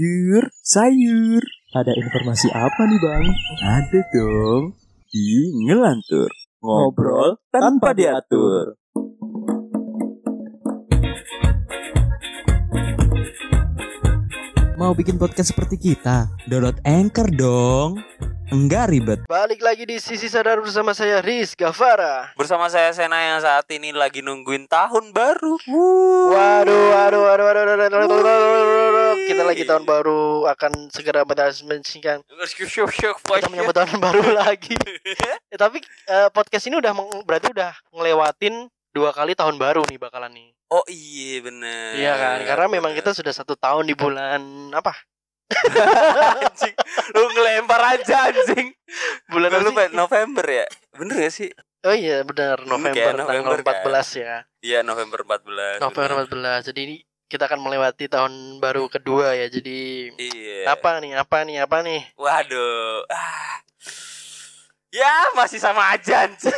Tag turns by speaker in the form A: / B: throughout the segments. A: Yur, sayur. Ada informasi apa nih bang?
B: Ada dong di Ngelantur Ngobrol tanpa diatur
C: Mau bikin podcast seperti kita? Download Anchor dong. Enggak ribet.
D: Balik lagi di sisi sadar bersama saya Riz Gavara.
E: Bersama saya Sena yang saat ini lagi nungguin tahun baru.
D: Waduh, waduh, waduh, waduh, waduh, waduh, waduh, waduh, waduh, waduh. kita lagi tahun baru akan segera mendasmensingkan kita menyambut tahun baru lagi. Ya, tapi eh, podcast ini udah meng- berarti udah ngelewatin dua kali tahun baru nih bakalan nih.
E: Oh iya bener.
D: Iya kan? Karena memang kita sudah satu tahun di bulan apa?
E: anjing. Lu ngelempar aja anjing.
D: Bulan
E: Nah, Lu
D: apa
E: lupa
D: sih?
E: November ya? Bener gak sih?
D: Oh iya benar November
E: Kayak
D: tanggal
E: November,
D: 14 ya.
E: Iya November 14.
D: November 14. Jadi ini kita akan melewati tahun baru kedua ya. Jadi
E: Iya.
D: apa nih? Apa nih? Apa nih?
E: Waduh. Ah. Ya masih sama aja anjing.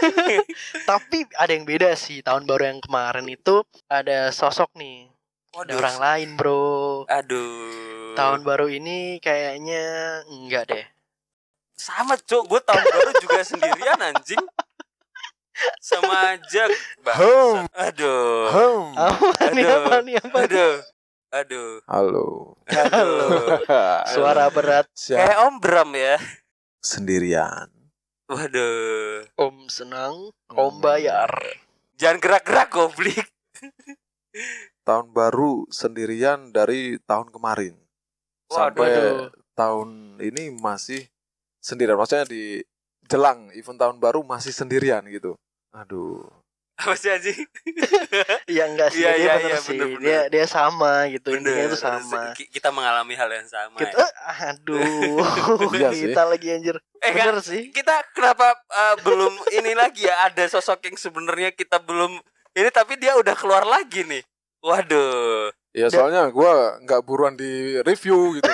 D: Tapi ada yang beda sih tahun baru yang kemarin itu ada sosok nih, ada
E: Waduh.
D: orang lain bro.
E: Aduh.
D: Tahun baru ini kayaknya enggak deh.
E: sama cok gue tahun baru juga sendirian anjing sama aja bangsa. aduh
D: Apa nih?
E: Hmm. Aduh.
D: Apa nih? Apa nih?
E: aduh aduh
B: Halo
E: aduh
D: Suara berat
B: Siap.
E: kayak om Bram ya
B: Sendirian
E: waduh
D: Om senang,
E: Hmm.
D: Om bayar.
E: jangan gerak-gerak goblik
B: Tahun baru sendirian dari tahun kemarin
E: Iya.
B: Sampai
D: Waduh.
B: tahun ini masih sendirian Maksudnya di jelang event tahun baru masih sendirian gitu Aduh
E: apa sih anjing
D: Iya enggak sih,
E: Iya,
D: dia
E: iya,
D: bener
E: iya,
D: sih.
E: bener, bener.
D: Dia dia sama gitu, intinya
E: bener
D: itu sama.
E: Ki- kita mengalami hal yang sama
D: Kita,
E: ya.
D: eh, aduh,
B: Iya sih.
D: kita lagi anjir.
E: eh kan
D: Bener sih.
E: kita kenapa eh, belum ini lagi ya ada sosok yang sebenarnya kita belum ini tapi dia udah keluar lagi nih waduh
B: Ya
D: Dan-
B: soalnya gua nggak buruan di review gitu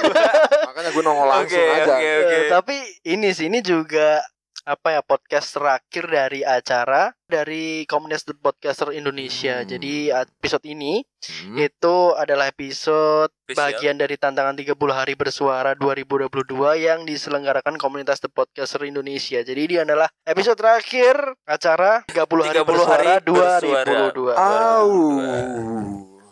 B: Makanya gue nongol
E: Oke,
B: langsung aja
E: oke,
D: Eh,
E: oke.
D: tapi ini sih ini juga apa ya podcast terakhir dari acara dari Komunitas Podcaster Indonesia.
B: Hmm.
D: Jadi episode ini
B: Hmm.
D: itu adalah episode
E: Spesial.
D: bagian dari tantangan 30 hari bersuara 2022 yang diselenggarakan Komunitas The Podcaster Indonesia. Jadi ini adalah episode terakhir acara 30 hari
E: 30
D: bersuara
E: hari bersuara.
D: 2022.
B: Au.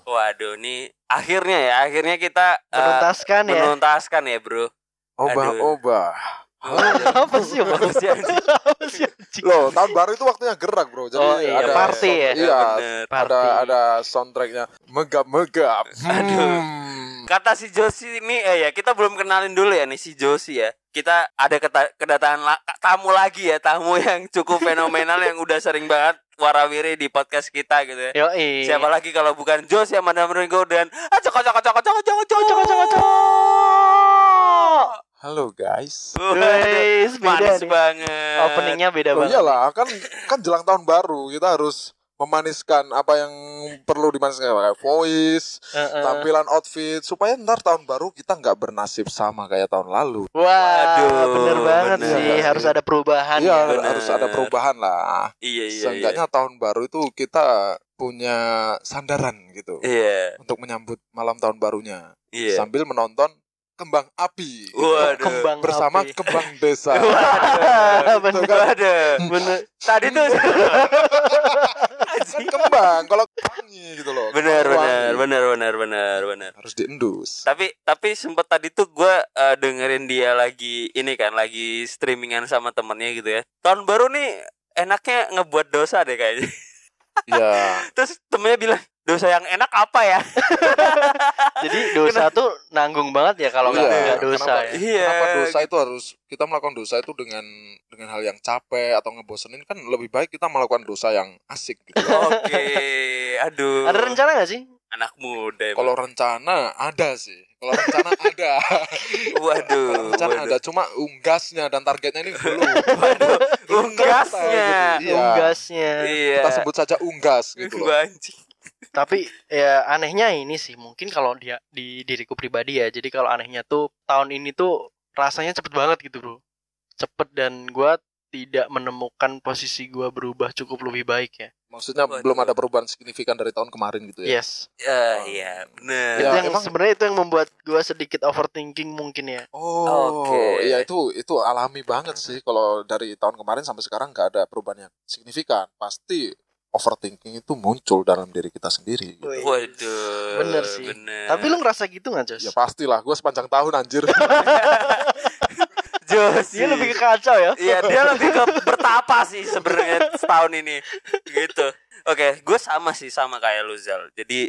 E: Waduh, nih akhirnya ya, akhirnya kita eh,
D: Menuntaskan ya.
E: menuntaskan ya, Bro. Aduh.
B: Obah-obah
E: Waduh.
D: Apa sih? Bang?
E: Apa sih, anjing?
D: Apa sih? anjing?
B: Loh, tahun baru itu waktunya gerak, Bro. Jadi
D: Oh, iya,
B: ada
D: party ya?
B: Iya,
E: Bener.
B: ada
D: Party.
B: ada soundtracknya megap-megap.
E: Aduh.
B: Hmm.
E: Kata si Josi ini eh ya, kita belum kenalin dulu ya nih si Josi ya. Kita ada keta- kedatangan la- tamu lagi ya, tamu yang cukup fenomenal yang udah sering banget warawiri di podcast kita gitu ya.
D: Yoi.
E: Siapa lagi kalau bukan Josi yang Madam Ringo dan Ah, cocok cocok cocok cocok cocok cocok cocok cocok.
B: Halo, guys.
E: Waduh,
D: Guys, beda
E: Manis
D: nih.
E: banget.
D: Eh, Openingnya
E: Iya,
D: beda
B: Oh
D: banget.
B: iyalah, kan kan jelang tahun baru kita harus memaniskan apa yang perlu dimaniskan kayak voice,
E: Eh.
D: Heeh.
B: tampilan outfit supaya ntar tahun baru kita nggak bernasib sama kayak tahun lalu.
D: Wah,
E: Waduh,
D: bener banget
E: bener.
D: sih. Harus ada perubahan.
B: Iya,
D: ya.
E: benar.
B: harus ada perubahan lah.
E: Iya, iya. iya.
B: Seenggaknya tahun baru itu kita punya sandaran gitu
E: Iya,
B: untuk menyambut malam tahun barunya
E: iya.
B: sambil menonton kembang api gitu.
E: Waduh.
D: Kembang
B: bersama
D: api.
B: kembang desa.
E: Waduh.
B: Itu
D: bener,
B: kan,
E: Waduh.
D: bener.
E: Tadi tuh
B: kan kembang kalau wangi gitu loh.
E: benar
B: Kembang
E: benar
B: wangi.
E: benar benar benar benar.
B: Harus diendus.
E: Tapi tapi sempat tadi tuh gue dengerin dia lagi ini kan lagi streamingan sama temennya gitu ya. Tahun baru nih enaknya ngebuat dosa deh kayaknya.
B: Iya.
E: Terus temennya bilang dosa yang enak apa ya?
D: Jadi dosa tuh nanggung banget ya kalau nggak
B: Iya.
D: nggak dosa
B: Kenapa?
D: ya.
E: Iya.
B: Kenapa dosa itu harus kita melakukan dosa itu dengan dengan hal yang capek atau ngebosenin kan lebih baik kita melakukan dosa yang asik gitu.
E: Oke, aduh.
D: Ada rencana nggak sih?
E: Anak muda. emang.
B: Kalau rencana ada sih. Kalau rencana ada. Kalau
E: waduh,
B: rencana ada
E: waduh.
B: cuma unggasnya dan targetnya ini belum.
E: Waduh, unggasnya.
B: Iya.
D: Unggasnya.
E: Iya.
B: Kita sebut saja unggas gitu loh.
E: Banci.
D: Tapi ya anehnya ini sih mungkin kalau dia di diriku pribadi ya. Jadi kalau anehnya tuh tahun ini tuh rasanya cepet banget gitu bro. Cepet dan gua tidak menemukan posisi gua berubah cukup lebih baik ya.
B: Maksudnya
E: Waduh.
B: belum ada perubahan signifikan dari tahun kemarin gitu ya.
D: Yes.
E: Eh, Iya, bener.
B: Ya,
D: itu yang
B: emang-
D: sebenarnya itu yang membuat gua sedikit overthinking mungkin ya.
B: Oh,
E: Oke.
B: ya itu itu alami banget sih kalau dari tahun kemarin sampai sekarang nggak ada perubahan yang signifikan. Pasti overthinking itu muncul dalam diri kita sendiri. gitu.
E: Waduh.
D: Bener sih.
E: bener.
D: Tapi lu ngerasa gitu nggak, Jos?
B: Ya pastilah, gue sepanjang tahun anjir.
E: Jos.
D: Dia lebih ke kacau ya.
E: Iya, dia lebih ke bertapa sih sebenarnya setahun ini. Gitu. Oke, gue sama sih sama kayak lu Zal. Jadi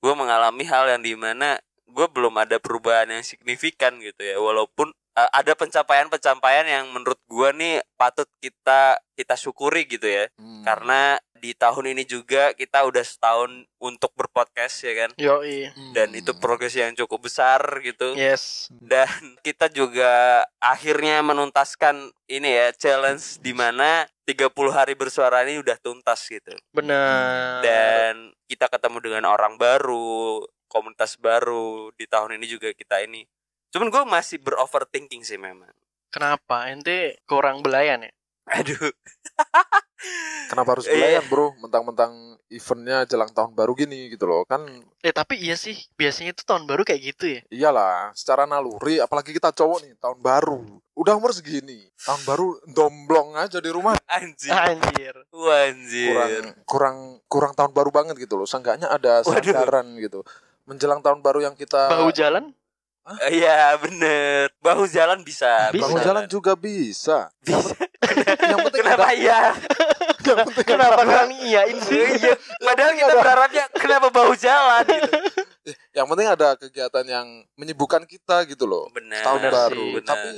E: gue mengalami hal yang dimana gue belum ada perubahan yang signifikan gitu ya. Walaupun eh, ada pencapaian-pencapaian yang menurut gue nih patut kita kita syukuri gitu ya.
B: Hmm.
E: Karena di tahun ini juga kita udah setahun untuk berpodcast ya kan.
D: Yo,
B: Hmm.
E: Dan itu progres yang cukup besar gitu
D: Yes.
E: dan kita juga akhirnya menuntaskan ini ya challenge di mana 30 hari bersuara ini udah tuntas gitu.
B: Ah.
D: Benar.
E: Dan kita ketemu dengan orang baru, komunitas baru di tahun ini juga kita ini. Cuman gue masih beroverthinking sih memang.
D: Kenapa ente kurang belayan ya?
E: Aduh.
B: Kenapa
E: Iya.
B: harus belayan bro? Mentang-mentang eventnya jelang tahun baru gini gitu loh kan?
D: Eh tapi iya sih, biasanya itu tahun baru kayak gitu ya.
B: Iyalah, secara naluri, apalagi kita cowok nih, tahun baru. Udah umur segini, tahun baru domblong aja di rumah.
E: Anjir.
B: Iya.
D: Anjir. Iya.
E: Anjir.
B: Ah. Kurang, kurang, kurang tahun baru banget gitu loh. Seenggaknya ada
E: Waduh.
B: sadaran gitu. Menjelang tahun baru yang kita
D: Bahu jalan?
E: Iya, bener. Bahu jalan bisa.
D: Bisa.
B: Bahu jalan juga bisa.
E: Bisa.
B: Yang penting
E: Kenapa iya?
B: yang penting
D: Kenapa kalian iyain sih?
E: Iya. Padahal kita berharapnya kenapa bahu jalan gitu.
B: yang penting ada kegiatan yang menyibukkan kita gitu loh.
E: Bener.
B: Tahun
D: Benar
B: baru.
D: sih,
E: benar.
B: Tapi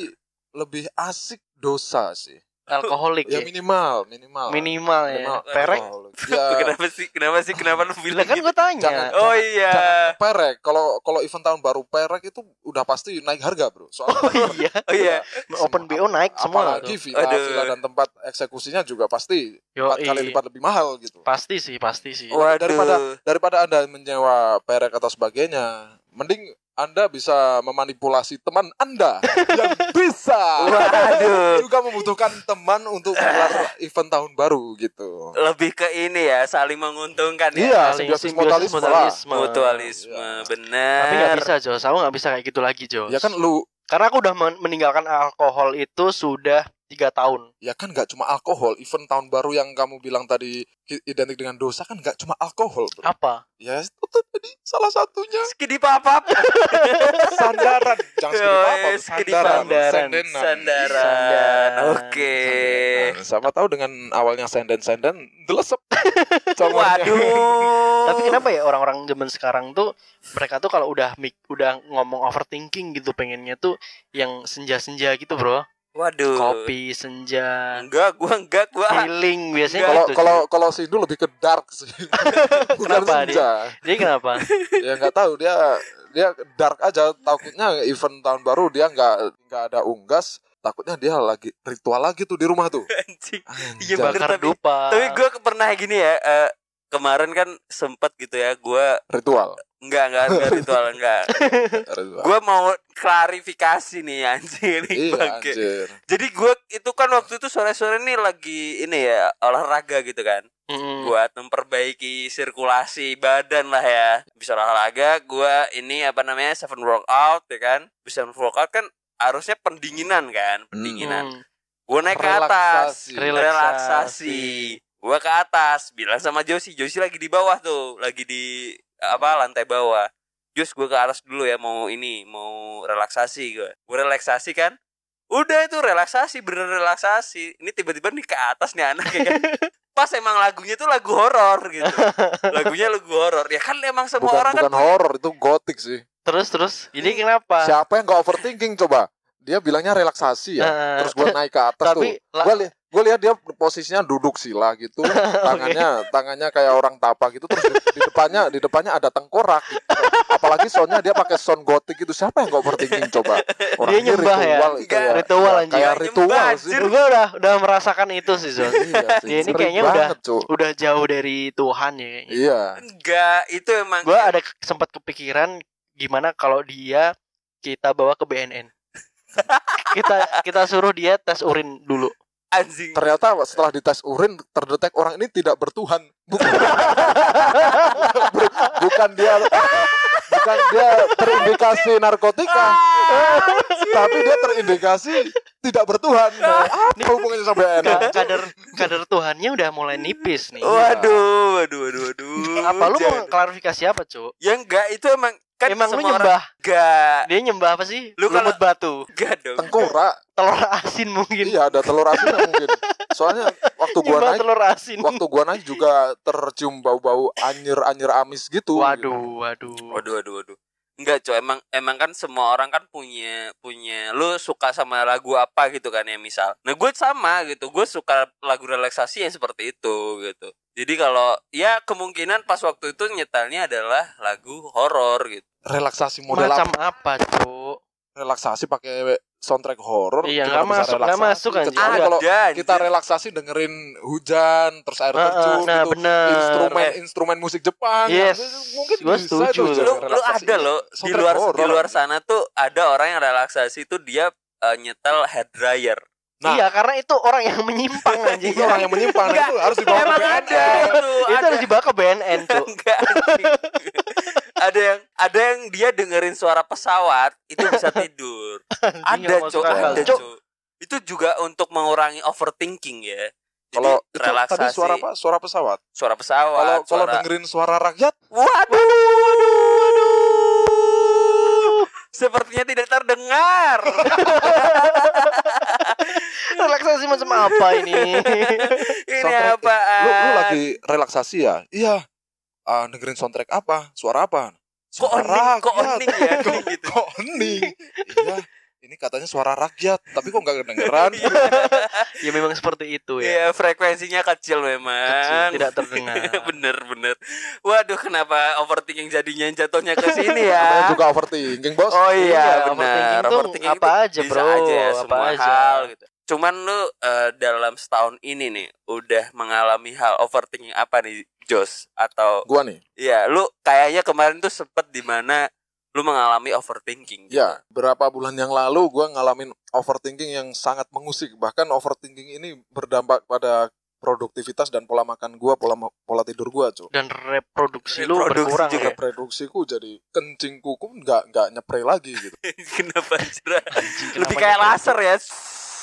B: lebih asik dosa sih.
D: Alkoholik ya.
B: Ya minimal, minimal.
D: Minimal ya.
B: Minimal.
D: Perek.
B: Alkohol.
E: Tuh,
B: Ya,
E: kenapa sih? Kenapa sih? Kenapa lu
D: Lah
E: bilang
D: kan
E: gitu?
D: gue tanya.
B: Jangan.
E: Oh iya.
B: jangan perek. Kalau kalau event tahun baru perek itu udah pasti naik harga, Bro. Soalnya
D: Oh iya.
E: Oh iya.
D: Open BO naik semua.
B: Apalagi
D: tuh.
B: villa,
E: Aduh.
B: villa dan tempat eksekusinya juga pasti
D: Yo,
B: empat kali lipat lebih mahal gitu.
D: Pasti sih, pasti sih.
B: Oh.
E: Waduh.
B: Daripada- Daripada Anda menyewa perek atau sebagainya, mending Anda bisa memanipulasi teman Anda yang bisa
E: Waduh.
B: juga membutuhkan teman untuk menggelar event tahun baru gitu.
E: Lebih ke ini ya, saling menguntungkan ya.
B: Iya,
D: Saling
B: simbiosis
D: simbiosis
B: mutualisme lah.
D: mutualisme.
E: Mutualisme,
B: Iya.
E: bener.
D: Tapi nggak bisa Jos, aku nggak bisa kayak gitu lagi Jos.
B: Ya kan lu,
D: Karena aku udah men- meninggalkan alkohol itu sudah tiga tahun.
B: ya kan nggak cuma alkohol. Event tahun baru yang kamu bilang tadi ki- identik dengan dosa kan nggak cuma alkohol. Bro.
D: Apa?
B: Ya itu tuh tadi salah satunya
E: Skidi papap.
B: sandaran. Jangan
E: Yo,
B: seperti apa,
E: eh, skidi
B: sandaran.
D: sandaran.
B: Sendenan.
E: Sandaran.
D: Iya. Sandaran.
E: Oke.
B: Nah, Siapa tahu dengan awalnya senden-senden delesep. Cowoknya.
E: Waduh.
D: Tapi kenapa ya orang-orang zaman sekarang tuh mereka tuh kalau udah mik udah ngomong overthinking gitu pengennya tuh yang senja-senja gitu bro.
E: Waduh.
D: Kopi senja,
E: Enggak, gua enggak, gua.
D: healing biasanya
B: Kalau
D: gitu.
B: kalau kalau si Indu lebih ke dark sih. Bukan
D: Kenapa dia?
B: senja.
D: Jadi kenapa?
B: ya nggak tahu dia dia dark aja takutnya event tahun baru dia nggak nggak ada unggas takutnya dia lagi ritual lagi tuh di rumah tuh
E: Anjing. Iya,
B: Anjay.
E: bener.
D: Bakar
E: tapi-
D: dupa.
E: Tapi gue pernah gini ya, eh, kemarin kan sempet gitu ya, gua
B: ritual
E: enggak enggak enggak ritual enggak.
B: ritual
E: gue mau klarifikasi nih anjir
B: iya
E: Bangke.
B: anjir
E: jadi gue itu kan waktu itu sore-sore nih lagi ini ya olahraga gitu kan
D: Mm-mm.
E: buat memperbaiki sirkulasi badan lah ya bisa olahraga gue ini apa namanya seven workout ya kan bisa workout kan harusnya pendinginan kan pendinginan
D: Mm.
E: gue naik ke atas
B: Relaksasi.
D: Relaksasi.
E: relaksasi gue ke atas bilang sama Josi Josi lagi di bawah tuh lagi di apa lantai bawah Jos gue ke atas dulu ya mau ini mau relaksasi gue gue relaksasi kan udah itu relaksasi bener relaksasi ini tiba-tiba nih ke atas nih anak ya kan pas emang lagunya tuh lagu horor gitu lagunya lagu horor ya kan emang semua
B: bukan
E: orang
B: bukan
E: kan
B: horor itu gotik sih
D: Terus terus,
E: Ah.
D: ini kenapa?
B: siapa ya? yang nggak overthinking coba dia bilangnya
E: Ah.
B: relaksasi ya
D: Eh,
B: terus gua naik ke atas
D: tapi
B: tuh gue lihat dia posisinya duduk sila gitu tangannya tangannya kayak orang tapa gitu terus di, di depannya di depannya ada tengkorak gitu. apalagi soundnya dia pakai sound gotik gitu siapa yang nggak overthinking coba orang
D: Dia
B: ini
D: nyembah ya?
B: ritual itu
E: Enggak,
D: ritual
B: Ya,
D: anjing.
B: kayak
E: Nyembah,
B: ritual sih
E: anjir.
D: gue udah udah merasakan itu sih Zon.
B: Iya sih,
D: Dia ini
B: sering
D: kayaknya
B: banget, Cuk.
D: udah jauh dari Tuhan ya. kayaknya.
B: iya
E: enggak itu emang
D: Gue ada ke- sempat kepikiran gimana kalau dia kita bawa ke BNN. kita kita suruh dia tes urin dulu.
E: anjing.
B: Ternyata setelah dites urin terdetek orang ini tidak bertuhan. Bukan, bukan dia bukan dia terindikasi narkotika,
E: Ah,
B: tapi dia terindikasi tidak bertuhan. Nah, apa hubungannya sampai enak?
D: Ka- kader kader Tuhannya udah mulai nipis
B: Oh,
D: nih.
E: Waduh, iya. waduh, waduh, waduh.
D: Apa lu mau
E: Jangan.
D: klarifikasi apa, Cuk?
E: Ya enggak, itu emang kan
D: Emang lu
E: semua orang-
D: nyembah,
E: Enggak.
D: dia nyembah apa sih?
E: Lu kalau-
D: Lumut batu,
E: Enggak dong.
B: Tengkorak.
D: telur asin mungkin.
B: Iya, ada telur asin mungkin. Soalnya waktu gua
D: nyembah
B: naik,
D: telur asin.
B: waktu gua naik juga tercium bau-bau anyir-anyir amis gitu.
D: Waduh, waduh.
E: Waduh, waduh, waduh. Enggak, coy. Emang emang kan semua orang kan punya punya lu suka sama lagu apa gitu kan ya misal. Nah, gue sama gitu. Gue suka lagu relaksasi yang seperti itu gitu. Jadi kalau ya kemungkinan pas waktu itu nyetelnya adalah lagu horor gitu.
B: Relaksasi model
D: Macam
B: apa?
D: apa, Cuk?
B: Relaksasi pakai soundtrack horor.
D: Iya,
B: gimana
D: nggak
B: bisa
D: masuk, nggak
B: relaksasi?
D: masuk, anjing.
B: Kecuali
D: Ada,
B: Ah, kalau
E: anjir.
B: kita relaksasi dengerin hujan, terus air
D: Ah, ah,
B: terjun
D: nah,
B: gitu.
D: bener.
B: Instrumen
E: Eh.
B: instrumen musik Jepang.
D: Yes.
B: Mungkin
D: Gua
B: bisa
D: setuju
B: itu
D: loh.
B: jadi
E: lu, lu
B: relaksasi.
E: ada loh di
B: Soundtrack
E: luar
B: horor.
E: di luar sana tuh ada orang yang relaksasi tuh dia eh, nyetel hair dryer.
B: Nah.
D: Iya, karena itu orang yang menyimpang anjing.
B: Itu orang yang menyimpang
E: Nggak.
B: itu harus dibawa ke
E: Emang
B: BNN.
E: ada itu,
D: itu
E: ada.
D: harus dibawa ke BNN, Cuk.
E: Enggak. anjing. ada yang ada yang dia dengerin suara pesawat itu bisa tidur.
D: nggak
E: ada
D: masuk
E: cok,
D: akal.
E: ada
D: Cuk.
E: cok. Itu juga untuk mengurangi overthinking ya. Jadi
B: Kalau itu
E: relaksasi
B: tadi suara apa? Suara pesawat.
E: Suara pesawat.
B: Kalau kalau
E: suara-
B: dengerin suara rakyat
E: Waduh, waduh, waduh. Sepertinya tidak terdengar.
D: Relaksasi macam apa ini?
E: Ini
B: Soundtrack-
E: apaan?
B: lu, lu lagi relaksasi ya? Iya. Ah, dengerin soundtrack apa? Suara apa?
E: kok oning,
B: Suara
E: kok
B: rakyat.
E: oning Gitu. ya
B: Kok-
E: gitu.
B: Kok oning? Iya. Ini katanya suara rakyat, tapi kok nggak kedengeran?
D: ya memang seperti itu ya.
E: Iya, frekuensinya kecil memang.
D: Kecil, tidak terdengar.
E: bener bener. Waduh, kenapa overthinking jadinya jatuhnya ke sini
B: Namanya
E: ya?
B: juga overthinking, Bos.
E: Oh iya,
D: Iya, overthinking
E: benar.
D: tuh apa aja,
E: bisa
D: bro,
E: aja ya,
D: apa
E: semua
D: aja.
E: hal gitu. Cuman lu eh, dalam setahun ini nih udah mengalami hal overthinking apa nih, Jos? Atau
B: Gua nih.
E: ya lu kayaknya kemarin tuh sempet di mana lu mengalami overthinking. gitu.
B: Ya, berapa bulan yang lalu gua ngalamin overthinking yang sangat mengusik. Bahkan overthinking ini berdampak pada produktivitas dan pola makan gua, pola ma- pola tidur gua, Cuk.
D: Dan reproduksi lu
E: Reproduksi
D: berkurang
E: juga.
D: ya. juga.
B: Juga produksiku jadi kencingku pun nggak nggak nyepre lagi gitu.
E: Kenapa? Jera?
D: Anjing,
E: Lebih
D: kenapa
E: kayak
D: gitu?
E: laser ya.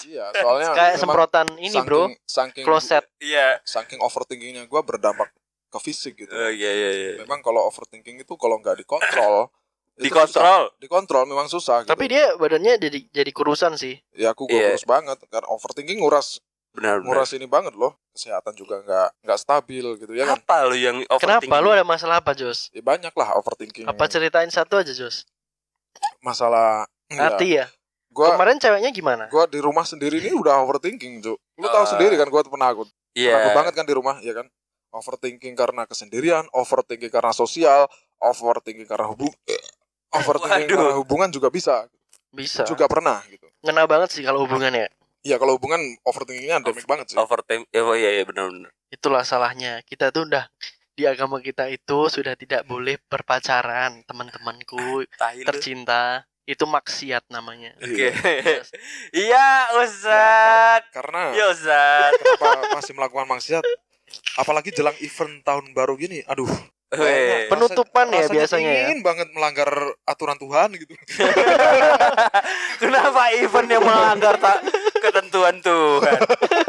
B: Iya, soalnya
D: Kayak
B: memang
D: semprotan ini,
B: saking-
D: Bro.
B: Saking
D: Kloset.
E: Iya.
B: saking overthinkingnya gua berdampak ke fisik gitu.
D: Eh,
E: Oh iya iya iya.
B: Memang kalau overthinking itu kalau nggak dikontrol itu susah.
E: Dikontrol.
B: dikontrol memang susah. Gitu.
D: Tapi dia badannya jadi jadi kurusan sih.
B: ya aku
E: Iya.
B: kurus banget karena overthinking nguras
E: Benar benar.
B: nguras ini banget loh kesehatan juga nggak nggak stabil gitu ya kan
E: apa lu yang overthinking? Iya.
D: Kenapa lu ada masalah apa, Jos?
B: ya banyak lah overthinking
D: Apa ceritain satu aja, Jos?
B: masalah ya,
D: Arti ya.
B: gua
D: Kemarin ceweknya gimana?
B: gua di rumah sendiri ini udah overthinking tuh lu tahu
E: Ah.
B: sendiri kan gua penakut
E: Iya.
B: penakut banget kan di rumah ya kan overthinking karena kesendirian overthinking karena sosial overthinking karena hubung eh, overthinking
E: Waduh.
B: karena hubungan juga bisa
D: Bisa.
B: juga pernah gitu
D: Ngena banget sih kalau hubungannya.
B: Iya kalau hubungan overthinkingnya endemik banget sih
E: Overtime. Eh, Oh iya iya benar benar.
D: Itulah salahnya. Kita tuh udah di agama kita itu sudah tidak boleh berpacaran, teman-temanku
E: Tahil.
D: tercinta. Itu maksiat namanya.
E: Oke.
D: Iya.
E: Iya, Ustaz.
B: karena
E: Ya, Ustaz.
B: kenapa masih melakukan maksiat apalagi jelang event tahun baru gini aduh
E: Weh.
B: Penuh
D: Penutupan ya
E: Iya,
B: rasanya
D: biasanya ya.
B: ingin banget melanggar aturan Tuhan gitu
E: Kenapa event yang melanggar tak ketentuan Tuhan?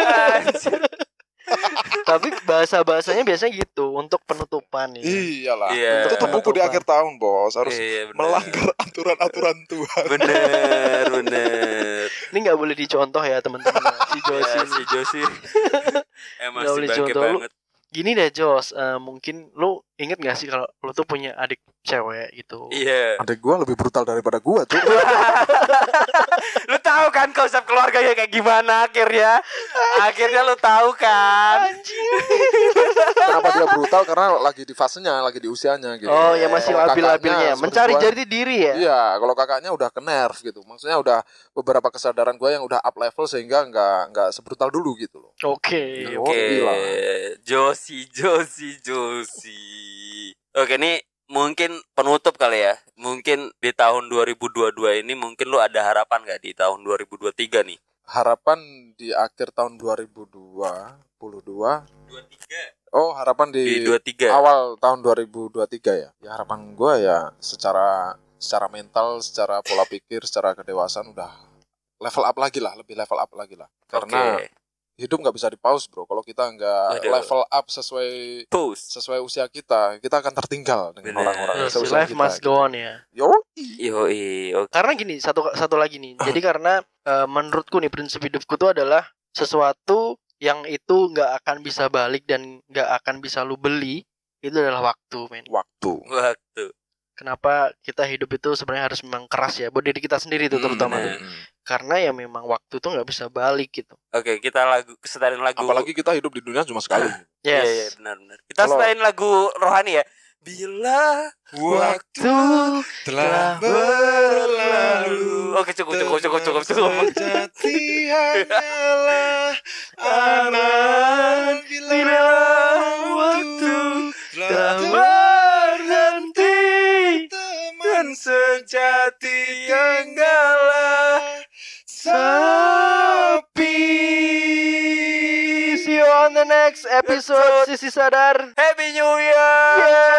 E: Anjir.
D: Tapi bahasa-bahasanya biasanya gitu untuk penutupan ya.
B: iyalah
E: Iya.
B: itu tuh buku
D: Penutupan.
B: di akhir tahun bos harus
E: Iya, benar.
B: melanggar aturan-aturan Tuhan
E: Bener, bener.
D: Ini nggak boleh dicontoh ya teman-teman. si Josi.
E: Ya, si Josi. Emang
D: Nggak
E: si
D: boleh
E: bangke
D: jodoh lu.
E: banget.
D: Gini deh Jos, eh, mungkin lu inget gak sih kalau lu tuh punya adik cewek gitu?
E: Iya.
B: adik gua lebih brutal daripada gua tuh
E: Lu tahu kan konsep keluarganya kayak gimana akhirnya? Akhirnya lu tahu kan?
B: kenapa dia brutal karena lagi di fasenya lagi di usianya gitu
D: Oh ya masih
B: Kalau kakaknya
D: labil-labilnya,
B: seperti
D: mencari
B: gua-
D: jati diri ya.
B: Iya, kalau kakaknya udah ke nerf gitu. Maksudnya udah beberapa kesadaran gua yang udah up level sehingga nggak nggak sebrutal dulu gitu loh.
D: Oke.
B: Iya.
E: Oke,
B: gila.
E: Josi, Josi, Josi. Oke, ini mungkin penutup kali ya. Mungkin di tahun 2022 ini mungkin lu ada harapan gak di tahun 2023 nih?
B: harapan di akhir tahun 2022 oh harapan di,
E: di 23
B: awal tahun 2023 ya ya harapan gue ya secara secara mental secara pola pikir secara kedewasaan udah level up lagi lah lebih level up lagi lah karena
E: Oke.
B: hidup nggak bisa di pause bro kalau kita nggak
E: Waduh.
B: level up sesuai
E: Post.
B: sesuai usia kita kita akan tertinggal dengan
E: Bener.
B: orang-orang
E: Terus,
B: Iya, seusia
D: life
B: kita. gitu.
D: must go on ya.
B: Yo,
E: Yoi, oke.
D: Karena gini, satu satu lagi nih.
E: Ah.
D: Jadi karena eh, menurutku nih prinsip hidupku tuh adalah sesuatu yang itu nggak akan bisa balik dan nggak akan bisa lu beli itu adalah waktu, men.
B: waktu
E: Waktu.
D: Kenapa kita hidup itu sebenarnya harus memang keras ya buat diri kita sendiri tuh
E: Hmm,
D: terutama
E: bener.
D: tuh. Karena ya memang waktu tuh nggak bisa balik gitu.
E: Oke, kita lagu setarin lagu.
B: apalagi kita hidup di dunia cuma sekali
E: Iya,
D: Yes.
E: iya, benar benar. Kita
B: Kalau-
E: setarin lagu rohani ya. Bila
D: Waktu telah
E: berlalu. Oke, cukup cukup cukup cukup cukup.
B: Anak
D: bila waktu telah berhenti
E: Teman sejati tinggallah
D: See you on the next episode Sisi Sadar
E: Happy New Year.